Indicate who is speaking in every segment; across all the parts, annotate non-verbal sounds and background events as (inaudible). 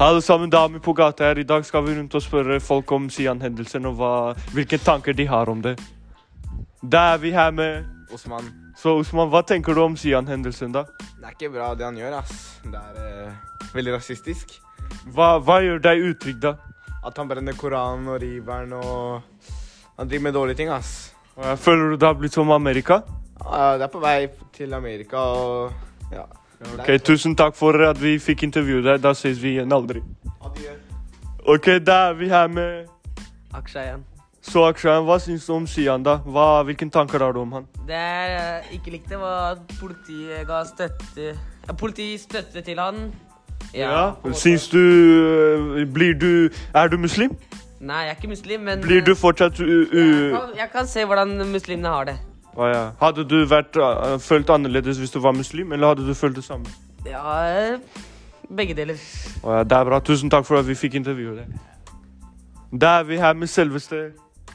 Speaker 1: Alle sammen damer på gata her. I dag skal vi rundt og spørre folk om Sian-hendelsen og hva, hvilke tanker de har om det. Da er vi her med
Speaker 2: Osman,
Speaker 1: Så Osman, hva tenker du om Sian-hendelsen, da?
Speaker 2: det er ikke bra det han gjør, ass. Det er eh, veldig rasistisk.
Speaker 1: Hva, hva gjør deg utrygg, da?
Speaker 2: At han brenner Koranen og river den og Han driver med dårlige ting, ass.
Speaker 1: Eh, Føler du det har blitt som Amerika?
Speaker 2: Ah, det er på vei til Amerika og Ja.
Speaker 1: Ok, Tusen takk for at vi fikk intervjue deg. Da ses vi igjen aldri.
Speaker 2: Adjø.
Speaker 1: Ok, da er vi her med
Speaker 3: Akshayan.
Speaker 1: Så Akshan. Hva syns du om Sian, da? Hva, hvilke tanker har du om han?
Speaker 3: Det jeg eh, ikke likte, var at politiet ga støtte ja, Politiet støtte til han.
Speaker 1: Ja,
Speaker 3: på en måte.
Speaker 1: Syns du øh, Blir du Er du muslim?
Speaker 3: Nei, jeg er ikke muslim, men
Speaker 1: Blir du
Speaker 3: eh,
Speaker 1: fortsatt u...
Speaker 3: jeg,
Speaker 1: u
Speaker 3: kan, jeg kan se hvordan muslimene har det.
Speaker 1: Å ja. Hadde du vært, øh, følt annerledes hvis du var muslim, eller hadde du følt det samme?
Speaker 3: Ja, eh, begge deler.
Speaker 1: Å ja, det er bra. Tusen takk for at vi fikk intervjue deg. Da er vi her med selveste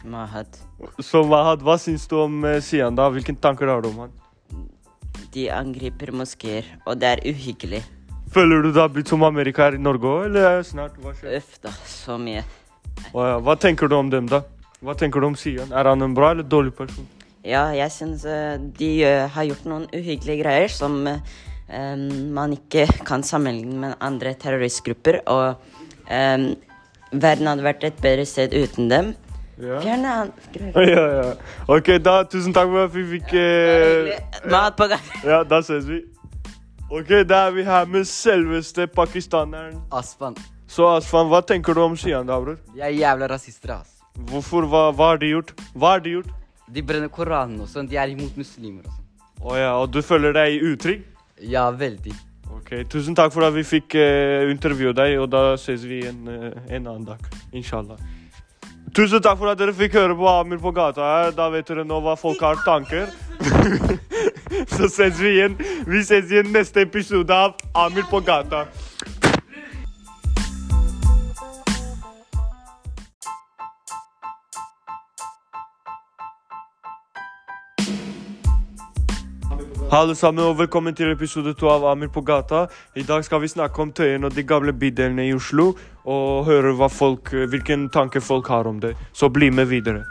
Speaker 4: Mahat.
Speaker 1: Så Mahad, hva syns du om eh, Sian, da? Hvilke tanker har du om han?
Speaker 4: De angriper moskeer, og det er uhyggelig.
Speaker 1: Føler du det har blitt som Amerika her i Norge òg, eller er det snart? Hva skjer?
Speaker 4: Uff da, så mye.
Speaker 1: Å ja. Hva tenker du om dem, da? Hva tenker du om Sian? Er han en bra eller dårlig person?
Speaker 4: Ja, jeg syns eh, de eh, har gjort noen uhyggelige greier som eh, eh, man ikke kan sammenligne med andre terroristgrupper. Og eh, verden hadde vært et bedre sted uten dem.
Speaker 1: Ja. ja,
Speaker 4: Fjern han- Greit.
Speaker 1: (laughs) ja. Ok, da. Tusen takk for at vi fikk eh,
Speaker 4: Mat på gang.
Speaker 1: Ja, da ses vi. Ok, da er vi her med selveste pakistaneren.
Speaker 5: Aspan.
Speaker 1: Så Asfan, hva tenker du om Sian da, bror?
Speaker 5: De er jævla rasister, ass.
Speaker 1: Hvorfor? Hva, hva har de gjort? Hva har de gjort?
Speaker 5: De brenner Koranen og sånn. De er imot muslimer og sånn.
Speaker 1: Å ja, og du føler deg utrygg?
Speaker 5: Ja, veldig.
Speaker 1: Ok, tusen takk for at vi fikk eh, intervjue deg, og da ses vi en, eh, en annen dag. Inshallah. Tusen takk for at dere fikk høre på Amir på gata her. Da vet dere nå hva folk har tanker. (laughs) Så ses vi igjen. Vi ses igjen neste episode av Amir på gata. Hallo sammen, og velkommen til episode to av Amir på gata. I dag skal vi snakke om Tøyen og de gamle bydelene i Oslo, og høre hva folk, hvilken tanke folk har om det. Så bli med videre.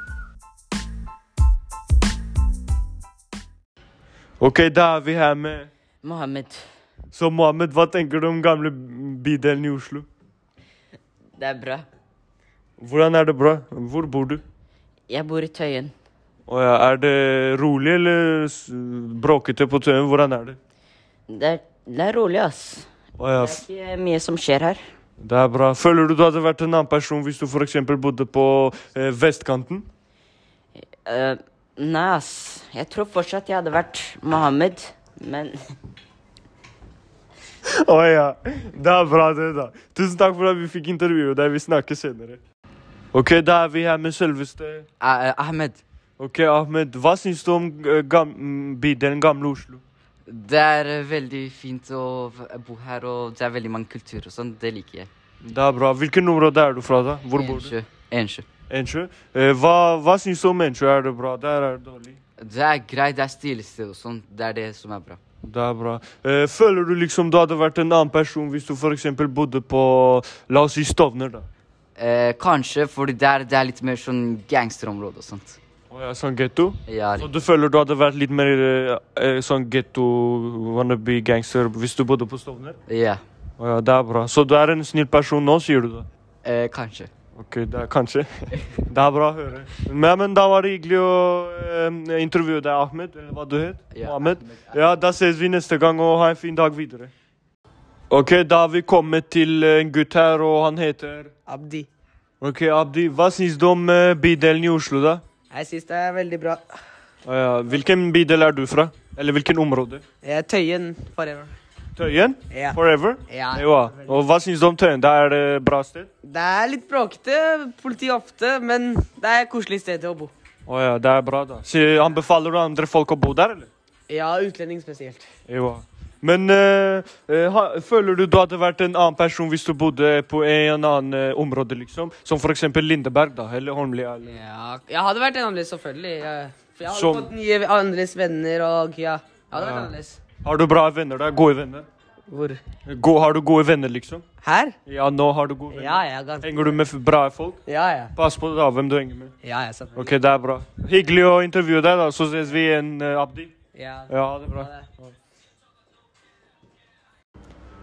Speaker 1: Ok, da er vi her med
Speaker 4: Mohammed.
Speaker 1: Så Mohammed, hva tenker du om gamle bydelen i Oslo?
Speaker 4: Det er bra.
Speaker 1: Hvordan er det bra? Hvor bor du?
Speaker 4: Jeg bor i Tøyen.
Speaker 1: Å ja, er det rolig eller s- bråkete på Tøyen? Hvordan er det?
Speaker 4: Det er, det er rolig, ass.
Speaker 1: Å ja,
Speaker 4: Det er ikke mye som skjer her.
Speaker 1: Det er bra. Føler du du hadde vært en annen person hvis du f.eks. bodde på eh, vestkanten?
Speaker 4: Eh, nei, ass. Jeg tror fortsatt jeg hadde vært Mohammed, men
Speaker 1: Å ja. Det er bra, det, da. Tusen takk for at vi fikk intervjue deg. Vi snakkes senere. Ok, da er vi her med selveste
Speaker 5: Eh, eh, Ahmed.
Speaker 1: Ok, Ahmed, hva syns du om eh, gam mm, bydelen Gamle Oslo?
Speaker 5: Det er eh, veldig fint å v- eh, bo her, og det er veldig mange kulturer og sånn. Det liker jeg.
Speaker 1: Det er bra. Hvilken område er du fra, da? Hvor bor du?
Speaker 5: Ensjø. Ensjø.
Speaker 1: Ensjø? Eh, hva hva syns du om Ensjø? Er det bra? Der er det dårlig.
Speaker 5: Det er greit, det er stilsted og sånn. Det er det som er bra.
Speaker 1: Det er bra. Eh, føler du liksom du hadde vært en annen person hvis du f.eks. bodde på La oss si Stovner, da?
Speaker 5: Eh, kanskje, fordi der det er litt mer sånn gangsterområde og sånt.
Speaker 1: Å ja, sånn getto?
Speaker 5: Ja,
Speaker 1: Så du føler du hadde vært litt mer eh, sånn getto, wannabe gangster hvis du bodde på Stovner?
Speaker 5: ja.
Speaker 1: Å ja, det er bra. Så du er en snill person nå, sier du da?
Speaker 5: Eh, kanskje.
Speaker 1: Ok, det er (laughs) kanskje. Det er bra å høre. Men, men da var det hyggelig å eh, intervjue deg, Ahmed, eller hva du het?
Speaker 5: Ja,
Speaker 1: Ahmed. Ja, da ses vi neste gang, og ha en fin dag videre. Ok, da har vi kommet til eh, en gutt her, og han heter
Speaker 3: Abdi.
Speaker 1: Ok, Abdi, hva syns du om eh, bydelen i Oslo, da?
Speaker 3: Jeg syns det er veldig bra.
Speaker 1: Å ja, hvilken bydel er du fra? Eller hvilken område?
Speaker 3: Tøyen forever.
Speaker 1: Tøyen?
Speaker 3: Ja.
Speaker 1: Forever?
Speaker 3: Ja.
Speaker 1: Jo, og hva syns du om Tøyen? Det er det bra sted?
Speaker 3: Det er litt bråkete, politi ofte, men det er et koselig sted å bo.
Speaker 1: Å ja, det er bra, da. Så anbefaler du andre folk å bo der, eller?
Speaker 3: Ja, utlending spesielt.
Speaker 1: Jo. Men eh, eh, ha, føler du du hadde vært en annen person hvis du bodde på en annen eh, område, liksom? Som for eksempel Lindeberg, da, eller Holmlia, eller
Speaker 3: Ja, jeg hadde vært en annerledes, selvfølgelig. Jeg, for jeg hadde
Speaker 1: Som-
Speaker 3: fått nye annerledes venner og ja. Jeg hadde vært
Speaker 1: Ja.
Speaker 3: annerledes.
Speaker 1: Har du bra venner der? Gode venner?
Speaker 3: Hvor?
Speaker 1: Gå, har du gode venner, liksom?
Speaker 3: Her?
Speaker 1: Ja, nå har du gode venner.
Speaker 3: Ja, ja. Ganske.
Speaker 1: Henger du med f- bra folk?
Speaker 3: Ja, ja.
Speaker 1: Pass på da, hvem du henger med.
Speaker 3: Ja, ja, sant.
Speaker 1: Ok, det er bra. Hyggelig å intervjue deg, da. Så ses vi igjen, eh, Abdi.
Speaker 3: Ja.
Speaker 1: Ja, det er bra.
Speaker 3: Ha det.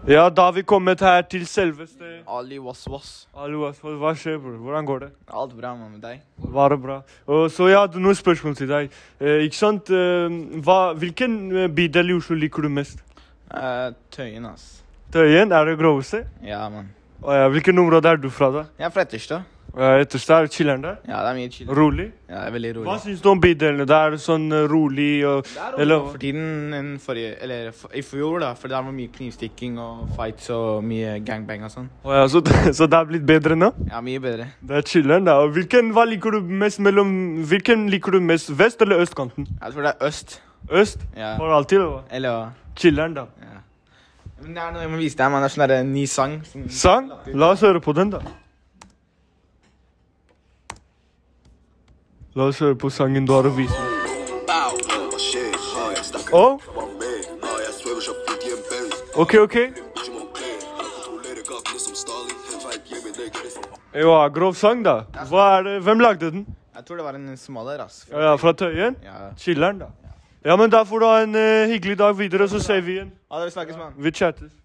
Speaker 1: Ja, da har vi kommet her til selveste
Speaker 6: Ali Waswas.
Speaker 1: Hallo, ass, hva hva skjer, bror? Hvordan går det?
Speaker 6: Alt bra med deg?
Speaker 1: Bare bra. Og så jeg hadde noen spørsmål til deg. Eh, ikke sant? eh, hva, hvilken eh, bydel i Oslo liker du mest?
Speaker 6: Eh, Tøyen, ass.
Speaker 1: Tøyen er det groveste.
Speaker 6: Ja, mann.
Speaker 1: Og, ja, hvilken område er du fra, da?
Speaker 6: Jeg er fra Etterstad.
Speaker 1: Uh, Etterstad er chiller'n der.
Speaker 6: Ja, det er mye chill.
Speaker 1: Rolig.
Speaker 6: Ja, det er veldig
Speaker 1: Hva
Speaker 6: rolig.
Speaker 1: syns du om bydelene? Det er sånn eh, rolig og eller,
Speaker 6: For tiden enn forrige Eller for, i fjor, da. For der var mye knivstikking og fights og mye gangbang og sånn.
Speaker 1: Å ja, så, så det er blitt bedre nå?
Speaker 6: Ja, mye bedre.
Speaker 1: Det er chiller'n, da. Og Hvilken, hva liker du mest mellom Hvilken liker du mest? Vest eller østkanten?
Speaker 6: Jeg tror det er øst.
Speaker 1: Øst?
Speaker 6: Ja.
Speaker 1: For alltid, eller hva?
Speaker 6: Eller hva?
Speaker 1: Chiller'n, da.
Speaker 6: Ja. Men det er noe jeg må vise deg, mann. Det er sånn derre ny sang. Som
Speaker 1: Sang? La oss høre på den, da. La oss høre på sangen du har å vise. meg. Og Oh, OK, OK. Jo, ja, grov sang, da. Hva er det? Hvem lagde den?
Speaker 6: Jeg tror det var en somalier, ass.
Speaker 1: Ja, ja, Fra Tøyen?
Speaker 6: Ja.
Speaker 1: Chiller'n, da. Ja, men da får du ha en eh, hyggelig dag videre, så ser vi igjen.
Speaker 6: Ha det, vi snakkes, mann.
Speaker 1: Vi chattes.